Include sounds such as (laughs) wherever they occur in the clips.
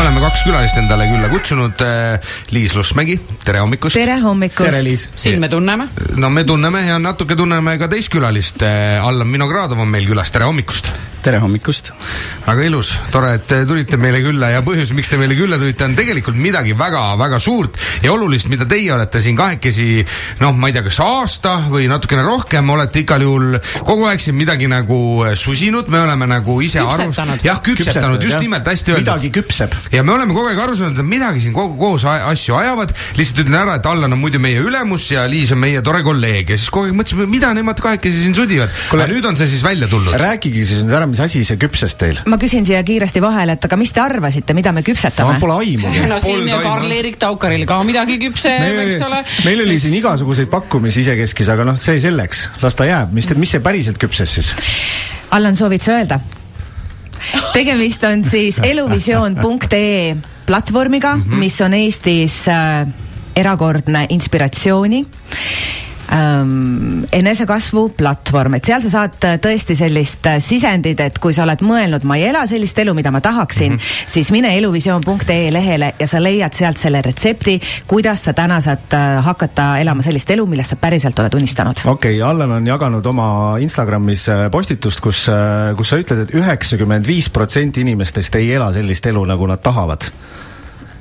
oleme kaks külalist endale külla kutsunud . Liis Lussmägi , tere hommikust . tere hommikust . tere , Liis . siin me tunneme . no me tunneme ja natuke tunneme ka teist külalist . Allan Vinogradov on meil külas , tere hommikust . tere hommikust . väga ilus , tore , et eh, tulite meile külla ja põhjus , miks te meile külla tulite , on tegelikult midagi väga-väga suurt ja olulist , mida teie olete siin kahekesi , noh , ma ei tea , kas aasta või natukene rohkem , olete igal juhul kogu aeg siin midagi nagu eh, susinud , me oleme nagu ise aru Küpsetanud. , jah , küpsetanud , just nimelt , hästi öeldud midagi küpseb . ja me oleme kogu aeg aru saanud , et midagi siin kogu koos a- asju ajavad , lihtsalt ütlen ära , et Allan on muidu meie ülemus ja Liis on meie tore kolleeg ja siis kogu aeg mõtlesime , mida nemad kahekesi siin sudivad . Kuule- aga nüüd on see siis välja tulnud . rääkige siis nüüd ära , mis asi see küpses teil ? ma küsin siia kiiresti vahele , et aga mis te arvasite , mida me ma küpsetame ? pole aimugi . no siin Polnud ja aimu. Karl-Erik Taukaril ka midagi küpseb , eks ole . meil oli siin igasuguseid pakkumisi isekeskis , aga noh , see selleks , las ta jääb , mis , mis see päriselt küpses siis ? Allan , soovid sa öelda ? tegemist on siis eluvisioon.ee platvormiga mm , -hmm. mis on Eestis äh, erakordne inspiratsiooni ähm, enesekasvu platvorm , et seal sa saad äh, tõesti sellist äh, sisendit , et kui sa oled mõelnud , ma ei ela sellist elu , mida ma tahaksin mm , -hmm. siis mine eluvisioon.ee lehele ja sa leiad sealt selle retsepti , kuidas sa täna saad äh, hakata elama sellist elu , millest sa päriselt oled unistanud . okei okay, , Allan on jaganud oma Instagramis äh, postitust , kus , kus sa ütled et , et üheksakümmend viis protsenti inimestest ei ela sellist elu , nagu nad tahavad .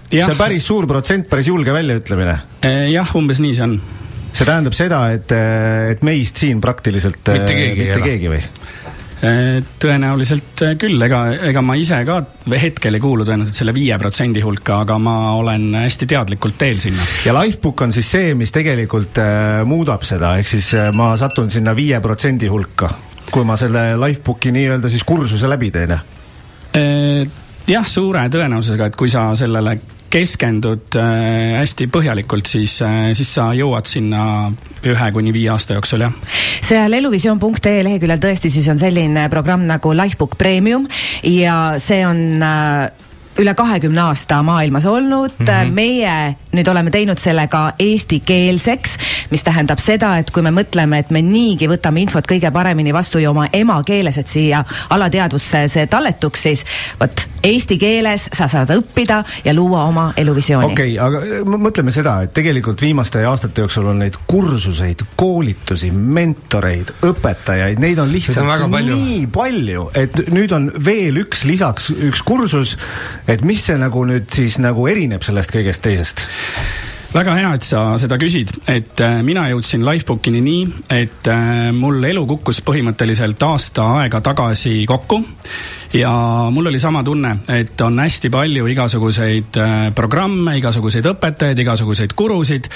see on jah , päris suur protsent , päris julge väljaütlemine . jah , umbes nii see on . see tähendab seda , et , et meist siin praktiliselt äh, Mitte keegi ei mitte ela. keegi või ? Eh, tõenäoliselt eh, küll , ega , ega ma ise ka hetkel ei kuulu tõenäoliselt selle viie protsendi hulka , aga ma olen hästi teadlikult teel sinna . ja Lifebook on siis see , mis tegelikult äh, muudab seda , ehk siis äh, ma satun sinna viie protsendi hulka , kui ma selle Lifebooki nii-öelda siis kursuse läbi teen . Eh, jah , suure tõenäosusega , et kui sa sellele keskendud eh, hästi põhjalikult , siis , siis sa jõuad sinna ühe kuni viie aasta jooksul , jah . seal eluvisioon.ee leheküljel tõesti siis on selline programm nagu Lifebook Premium ja see on äh, üle kahekümne aasta maailmas olnud mm , -hmm. meie nüüd oleme teinud selle ka eestikeelseks , mis tähendab seda , et kui me mõtleme , et me niigi võtame infot kõige paremini vastu ju oma emakeeles , et siia alateadvusse see talletuks , siis vot eesti keeles sa saad õppida ja luua oma eluvisiooni okei . okay, , aga äh, mõ- mõtleme seda , et tegelikult viimaste aastate jooksul on neid kursuseid , koolitusi , mentoreid , õpetajaid , neid Neid on on lihtsalt väga palju. nii palju , et nüüd on veel üks lisaks üks kursus , et mis see nagu nüüd siis nagu erineb sellest kõigest teisest ? väga hea , et sa seda küsid , et äh, mina jõudsin Lifebookini nii , et äh, mul elu kukkus põhimõtteliselt aasta aega tagasi kokku ja mul oli sama tunne , et on hästi palju igasuguseid äh, programme , igasuguseid õpetajaid , igasuguseid gurusid .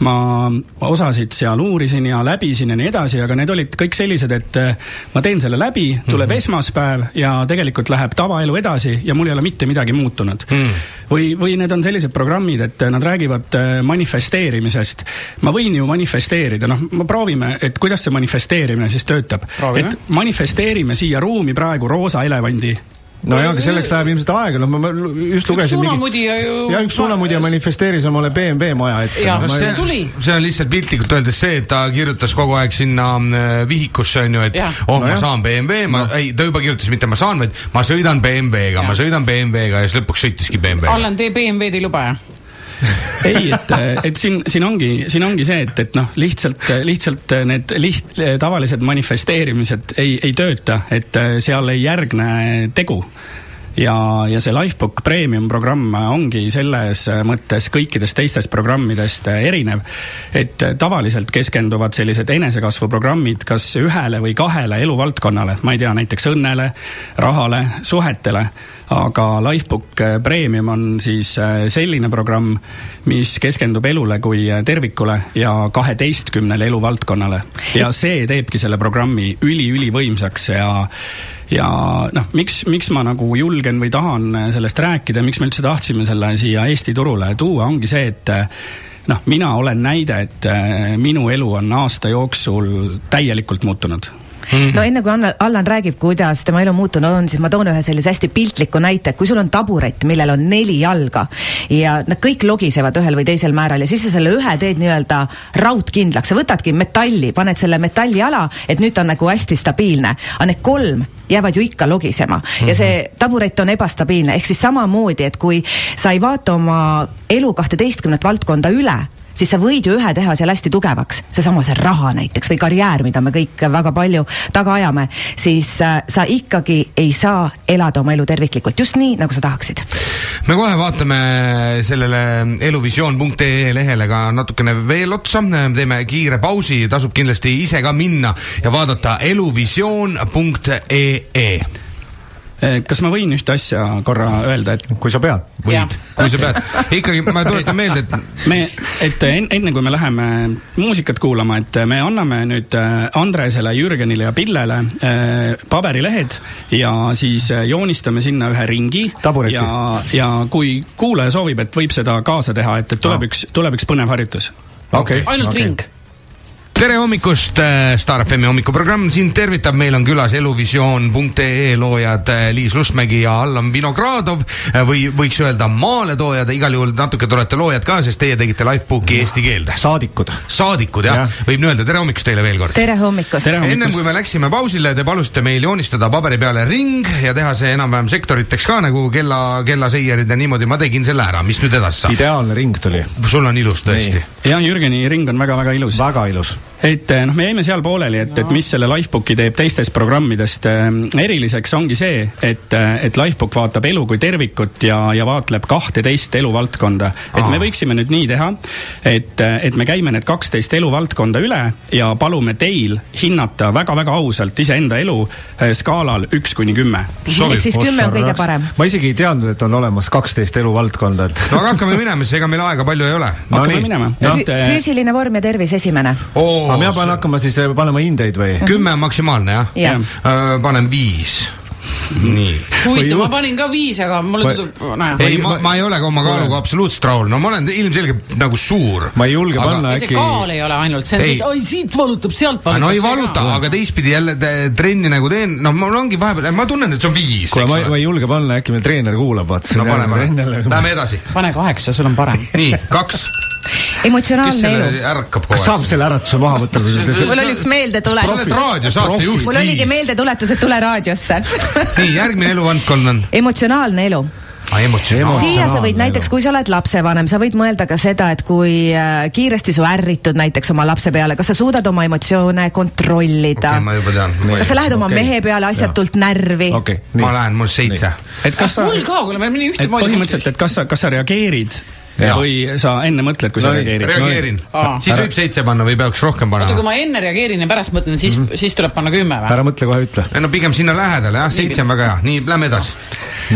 ma osasid seal uurisin ja läbisin ja nii edasi , aga need olid kõik sellised , et äh, ma teen selle läbi , tuleb mm -hmm. esmaspäev ja tegelikult läheb tavaelu edasi ja mul ei ole mitte midagi muutunud mm või , või need on sellised programmid , et nad räägivad äh, manifesteerimisest . ma võin ju manifesteerida , noh , me proovime , et kuidas see manifesteerimine siis töötab . Proovime. et manifesteerime siia ruumi praegu roosa elevandi . nojah , aga selleks läheb ilmselt aega , no ma ma lu- just lugesin suunamudija ju- jah , üks suunamudija manifesteeris omale BMW maja ette . Jah. No, ma... See tuli. see on lihtsalt piltlikult öeldes see , et ta kirjutas kogu aeg sinna äh, vihikusse onju , et Jah. oh no ma Nojah. saan BMW , ma no. , ei , ta juba kirjutas , mitte ma saan , vaid ma sõidan BMW-ga , ma Jah. sõidan BMW-ga ja siis lõpuks sõitiski BMW-ga . Allan , tee BMW-d ei luba , jah ? ei , et , et siin , siin ongi , siin ongi see , et , et noh , lihtsalt , lihtsalt need liht- , tavalised manifesteerimised ei , ei tööta , et äh, seal ei järgne tegu ja , ja see Lifebook Premium programm ongi selles mõttes kõikidest teistest programmidest äh, erinev , et tavaliselt keskenduvad sellised enesekasvu programmid kas ühele või kahele eluvaldkonnale , ma ei tea , näiteks õnnele , rahale , suhetele , aga Lifebook eh, Premium on siis äh, selline programm , mis keskendub elule kui eh, tervikule ja kaheteistkümnele eluvaldkonnale ja see teebki selle programmi üli-ülivõimsaks ja ja noh , miks , miks ma nagu julgen või tahan eh, sellest rääkida , miks me üldse tahtsime selle siia Eesti turule tuua , ongi see , et noh , eh, mina olen näide , et äh, minu elu on aasta jooksul täielikult muutunud no enne kui Anna , Allan räägib , kuidas tema elu muutunud on , siis ma toon ühe sellise hästi piltliku näite , kui sul on taburet , millel on neli jalga ja nad kõik logisevad ühel või teisel määral ja siis sa selle ühe teed nii-öelda raudkindlaks , sa võtadki metalli , paned selle metalljala , et nüüd ta on nagu hästi stabiilne , aga need kolm jäävad ju ikka logisema ja see taburet on ebastabiilne , ehk siis samamoodi , et kui sa ei vaata oma elu kahteteistkümnet valdkonda üle , siis sa võid ju ühe teha seal hästi tugevaks , seesama see raha näiteks või karjäär , mida me kõik väga palju taga ajame , siis äh, sa ikkagi ei saa elada oma elu terviklikult just nii , nagu sa tahaksid . me kohe vaatame sellele eluvisioon.ee lehele ka natukene veel otsa , teeme kiire pausi , tasub kindlasti ise ka minna ja vaadata eluvisioon.ee . Eh, kas ma võin ühte asja korra öelda , et kui sa pead . Jah. võid , kui sa pead , ikkagi ma tuletan meelde , et me , et en- enne kui me läheme muusikat kuulama , et me anname nüüd äh, Andresele , Jürgenile ja Pillele äh, paberilehed ja siis äh, joonistame sinna ühe ringi . Tabureti. ja , ja kui kuulaja soovib , et võib seda kaasa teha , et , et tuleb Aa. üks , tuleb üks põnev harjutus . okei . ainult okay. ring . tere hommikust , Star FM-i hommikuprogramm sind tervitab , meil on külas eluvisioon.ee loojad äh, Liis Lustmägi ja Allan Vinogradov äh, või võiks öelda maaletoojad , igal juhul natuke te olete loojad ka , sest teie tegite Lifebooki eesti keelde . saadikud . saadikud jah ja. Jah. , võib nii öelda , tere hommikust teile veel kord . tere hommikust Tere! ennem kui me läksime pausile , te palusite meil joonistada paberi peale ring ja teha see enam-vähem sektoriteks ka nagu kella , kellaseierid ja niimoodi , ma tegin selle ära , mis nüüd edasi saab ? ideaalne ring tuli . sul on ilus tõesti . ja Jürgeni ring on väga-väga ilus . väga ilus . et eh, noh , me jäime seal pooleli , et , et mis selle Lifebooki teeb teistest programmidest eh, eriliseks , ongi see , et , et Lifebook vaatab elu kui tervikut ja , ja vaatleb kahteteist eluvaldkonda . et me Aa. võiksime nüüd nii teha , et , et me käime need kaksteist eluvaldkonda üle ja palume teil hinnata väga-väga ausalt iseenda elu eh, skaalal üks kuni kümme . sobib. ehk siis kümme on kõige parem . ma isegi ei teadnud , et on olemas kaksteist eluvaldkonda , et no aga hakkame minema , sest ega meil aega palju ei ole . No hakkame nii. minema . eh, füüsiline vorm ja tervis esimene . aga mina pean hakkama siis eh, panema hindeid või ? kümme on maksimaalne jah Äh, Jah. ? panen viis . nii . huvitav , ju- ma panin ka viis , aga mulle Või- tundub , noh, nojah . ei , ma , ma ei ole ka oma kaaluga absoluutselt rahul , no ma olen ilmselgelt nagu suur . ma ei julge Aga- panna ja see äkki . kaal ei ole ainult , see on Ei. siit , oi siit valutab , sealt valutab . no ei valuta , aga teistpidi jälle te, trenni nagu teen , no mul ongi vahepeal , ma tunnen , et see on viis , eks kuule , ma , ma ole . ei julge panna , äkki meil treener kuulab , vaata . no paneme , lähme edasi . pane kaheksa , sul on parem . nii , kaks , kes emotsionaalne elu . selle ärkab kogu kas saab aeg ? selle äratuse maha võtta , kui sa mul oli seda üks sa oled meeldetuletus . raadiosaatejuht . mul oligi . meeldetuletus , et tule raadiosse nii , järgmine eluvaldkond on emotsionaalne elu ah, emotsionaalne . siia sa võid emotsionaalne näiteks , kui sa oled lapsevanem , sa võid mõelda ka seda , et kui äh, kiiresti su ärritud näiteks oma lapse peale , kas sa suudad oma emotsioone kontrollida okei , ma juba tean . kas sa lähed oma Okei. okay. mehe peale asjatult ja. närvi okei , ma nii . lähen , mul seitse . et kas Ah, sa mul ka , kuule , meil mõni et ühtemoodi . põhimõtteliselt , et kas sa , kas sa reageerid Jaa. või sa enne mõtled , kui sa No ei, reageerid ? reageerin Aa. . siis võib seitse panna või peaks rohkem oota , kui panema ? ma enne reageerin ja pärast mõtlen , siis , siis tuleb panna kümme või ? ära mõtle , kohe ütle . ei no pigem sinna lähedale jah , seitse on väga hea , nii , lähme edasi .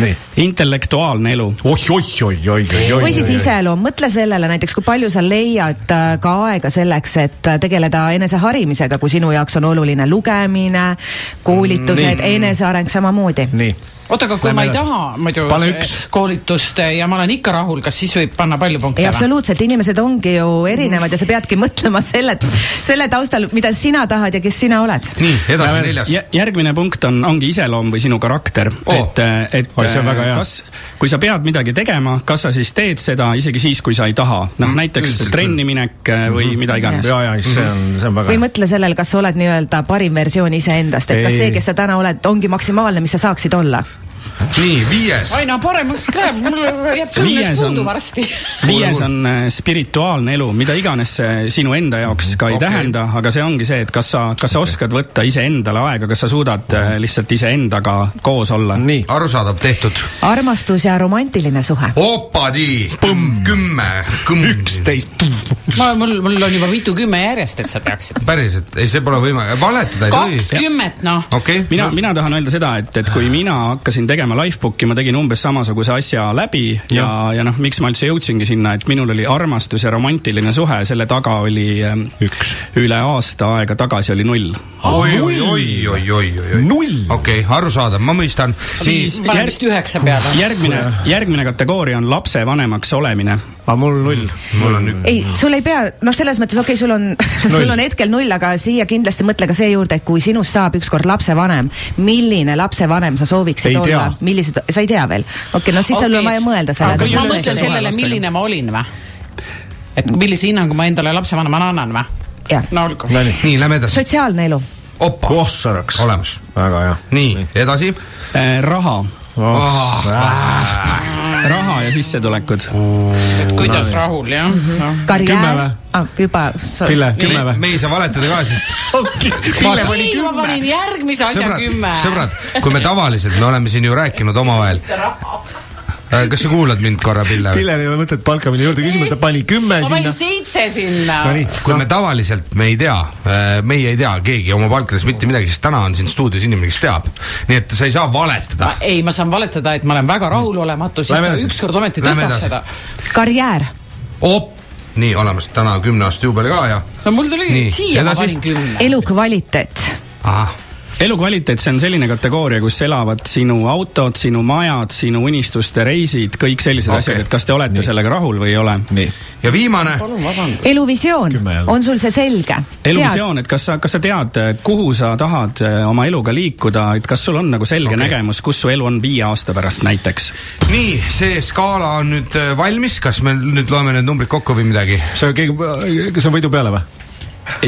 nii . intellektuaalne elu . oih , oih , oih , oih , oih , või siis . iseloom , mõtle sellele näiteks , kui palju sa leiad äh, ka aega selleks , et äh, tegeleda eneseharimisega , kui sinu jaoks on oluline lugemine , koolitused , eneseareng samamoodi . nii , oota , aga kui Lähme ma ei edasi. taha muidu Pane see üks. koolitust ja ma olen ikka rahul , kas siis võib panna palju punkte ei , ära ? absoluutselt , inimesed ongi ju erinevad ja sa peadki mõtlema selle , selle taustal , mida sina tahad ja kes sina oled . nii , edasi Lähme neljas . Ja, järgmine punkt on , ongi iseloom või sinu karakter Oo. oh. , et , et äh, Oi, see on väga hea. kas , kui sa pead midagi tegema , kas sa siis teed seda isegi siis , kui sa ei taha , noh näiteks Mm, üldiselt Mhm. trenni minek äh, või mida iganes . ja , ja siis see on , see on väga või hea . mõtle sellele , kas sa oled nii-öelda parim versioon iseendast , et kas Ei. see , kes sa täna oled , ongi maksimaalne , mis sa saaksid olla . nii , viies . aina paremaks läheb , mul jääb Viies kümnes on- puudu varsti . (laughs) (laughs) viies on äh, spirituaalne elu , mida iganes see sinu enda jaoks ka ei Mhm. Okei. okay. tähenda , aga see ongi see , et kas sa , kas sa oskad võtta iseendale aega , kas sa suudad äh, lihtsalt iseendaga koos olla . nii , arusaadav , tehtud . armastus ja romantiline suhe . Mhm. opadi , põmm , kümme , kõmm . üksteist . ma , mul , mul on juba mitukümme järjest , et sa teaksid . päriselt , (laughs) ei see pole võimalik , valetada ei tohi . kakskümmend , noh . okei okay. , mina , mina tahan öelda seda , et , et kui mina hakkasin tegema Lifebooki , ma tegin umbes samasuguse asja läbi ja , ja, ja noh , miks ma üldse jõudsingi sinna , et minul oli armastus ja romantiline suhe , selle taga oli ähm, Üks. üle aasta aega tagasi oli null . oi , oi , oi , oi , oi , oi , oi . null . okei okay, , arusaadav , ma mõistan . siis panen järg- vist üheksa peale . järgmine , järgmine kategooria on lapsevanemaks olemine , aga mul null . mul on üks . ei , sul ei pea , noh , selles mõttes okei okay, , sul on , (laughs) sul on hetkel null , aga siia kindlasti mõtle ka see juurde , et kui sinust saab ükskord lapsevanem , milline lapsevanem sa sooviksid Ei tea. olla , millised , sa ei tea veel . okei okay, , no siis okay. sul on vaja mõelda selle kas ma Just- peale . mõtlen sellele , lastega. milline ma olin või ? et millise hinnangu ma endale lapsevanemana annan või ? jah , no olgu . Nonii , nii , lähme edasi . sotsiaalne elu , opa , ossaraks . olemas . väga hea . Oh. nii , edasi . Äh, raha , Ah, raha ja sissetulekud . kuidas rahul jah Mhm. no. ? Kümme karjäär Ah, või? , juba . Pille , kümme me, (laughs) või ? me ei saa valetada ka , sest ei , ma panin järgmise asja sõbrad kümme ,. sõbrad , kui me tavaliselt , me oleme siin ju rääkinud omavahel . kas sa kuulad mind korra , Pille ? Pillel ei ole mõtet palka minna juurde küsima , ta pani kümme ma sinna panin . seitse sinna . Nonii , kui me tavaliselt , me ei tea , meie ei tea keegi oma palkadest mitte midagi , siis täna on siin stuudios inimene , kes teab . nii et sa ei saa valetada . ei , ma saan valetada , et ma olen väga rahulolematu , siis Lähme ta edasi. ükskord ometi Lähme tõstab edasi. seda . karjäär , op , nii olemas , täna on kümne aasta juubel ka ja . no mul tuli Nii, , siia ma edasi. panin kümne . elukvaliteet , ahah , elukvaliteet , see on selline kategooria , kus elavad sinu autod , sinu majad , sinu unistuste reisid , kõik sellised Okei. okay. asjad , et kas te olete Nii. sellega rahul või ei ole . nii , ja viimane , eluvisioon Kümme jälle. , on sul see selge ? eluvisioon , et kas sa , kas sa tead , kuhu sa tahad eh, oma eluga liikuda , et kas sul on nagu Okei. selge okay. nägemus , kus su elu on viie aasta pärast näiteks ? nii see skaala on nüüd äh, valmis , kas me nüüd loeme need numbrid kokku või midagi ? sa keegi , kas on võidu peale või ?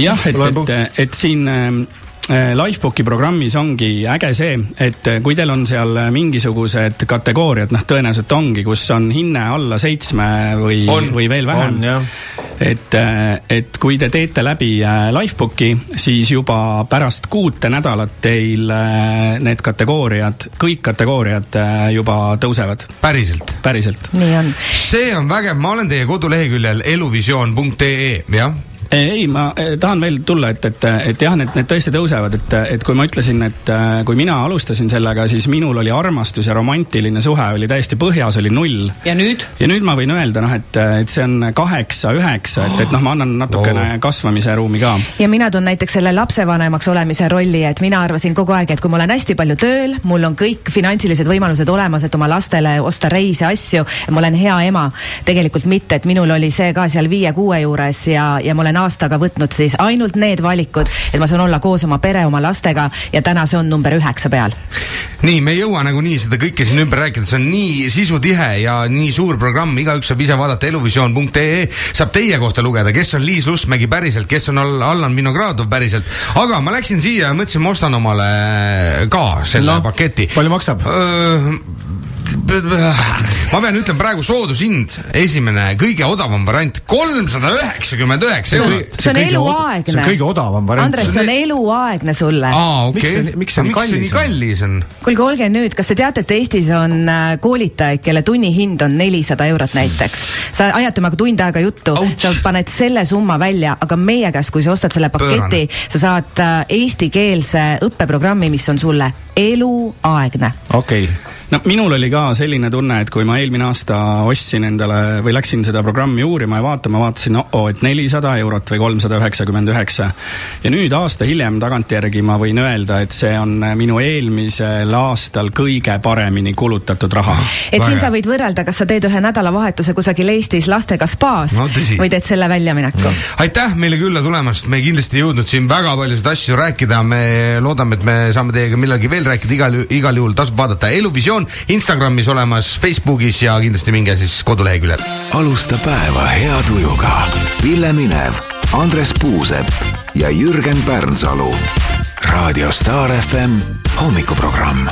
jah , et , Loen et punkti. , et siin äh, Lifebooki programmis ongi äge see , et äh, kui teil on seal mingisugused kategooriad , noh , tõenäoliselt ongi , kus on hinne alla seitsme või , On, või veel vähem on, jah. . et , et kui te teete läbi äh, Lifebooki , siis juba pärast kuute nädalat teil äh, need kategooriad , kõik kategooriad äh, juba tõusevad , päriselt ? päriselt . nii on . see on vägev , ma olen teie koduleheküljel eluvisioon.ee , jah . ei , ma eh, tahan veel tulla , et , et , et jah , need , need tõesti tõusevad , et , et kui ma ütlesin , et äh, kui mina alustasin sellega , siis minul oli armastus ja romantiline suhe oli täiesti põhjas , oli null . ja nüüd ? ja nüüd ma võin öelda noh , et , et see on kaheksa-üheksa , et , et noh , ma annan natukene Vau. wow. kasvamise ruumi ka . ja mina tunnen näiteks selle lapsevanemaks olemise rolli , et mina arvasin kogu aeg , et kui ma olen hästi palju tööl , mul on kõik finantsilised võimalused olemas , et oma lastele osta reise , asju , ma olen hea ema . tegelikult mitte , et minul oli see ka seal viie-kuue juures ja , ja ma olen aastaga võtnud siis ainult need valikud , et ma saan olla koos oma pere , oma lastega ja täna see on number üheksa peal . nii , me ei jõua nagunii seda kõike siin ümber rääkida , see on nii sisutihe ja nii suur programm , igaüks saab ise vaadata eluvisioon.ee , saab teie kohta lugeda , kes on Liis Lustmägi päriselt , kes on All- Allan Vinogradov päriselt . aga ma läksin siia ja mõtlesin , ma ostan omale ka selle no, No, paketi . palju maksab? ma pean ütlema praegu soodushind , esimene kõige odavam variant , kolmsada üheksakümmend üheksa eurot . see on kõige od- eluaegne . see on kõige odavam variant. Andres , see on eluaegne sulle . aa , Miks okei see- . miks see nii nii kallis on? kallis on ? kuulge , olge nüüd , kas te teate , et Eestis on äh, koolitajaid , kelle tunnihind on nelisada eurot näiteks ? sa ajad temaga tund aega juttu Ouch. , sa paned selle summa välja , aga meie käest , kui sa ostad selle paketi , sa saad äh, eestikeelse õppeprogrammi , mis on sulle eluaegne . okei okay. , no minul oli ka selline tunne , et kui ma eelmine aasta ostsin endale või läksin seda programmi uurima ja vaatama , vaatasin oh-oo , et nelisada eurot või kolmsada üheksakümmend üheksa . ja nüüd aasta hiljem tagantjärgi ma võin öelda , et see on minu eelmisel aastal kõige paremini kulutatud raha . et siin Väga. sa võid võrrelda , kas sa teed ühe nädalavahetuse kusagil Eestis lastega spaas No tõsi. või teed selle väljamineku . aitäh meile külla tulemast , me kindlasti ei jõudnud siin väga paljusid asju rääkida , me loodame , et me saame teiega millalgi veel rääkida , igal , igal juhul tasub vaadata Eluvisioon Instagramis olemas , Facebookis ja kindlasti minge siis koduleheküljele . alusta päeva hea tujuga . Pille Minev , Andres Puusepp ja Jürgen Pärnsalu . raadio Star FM hommikuprogramm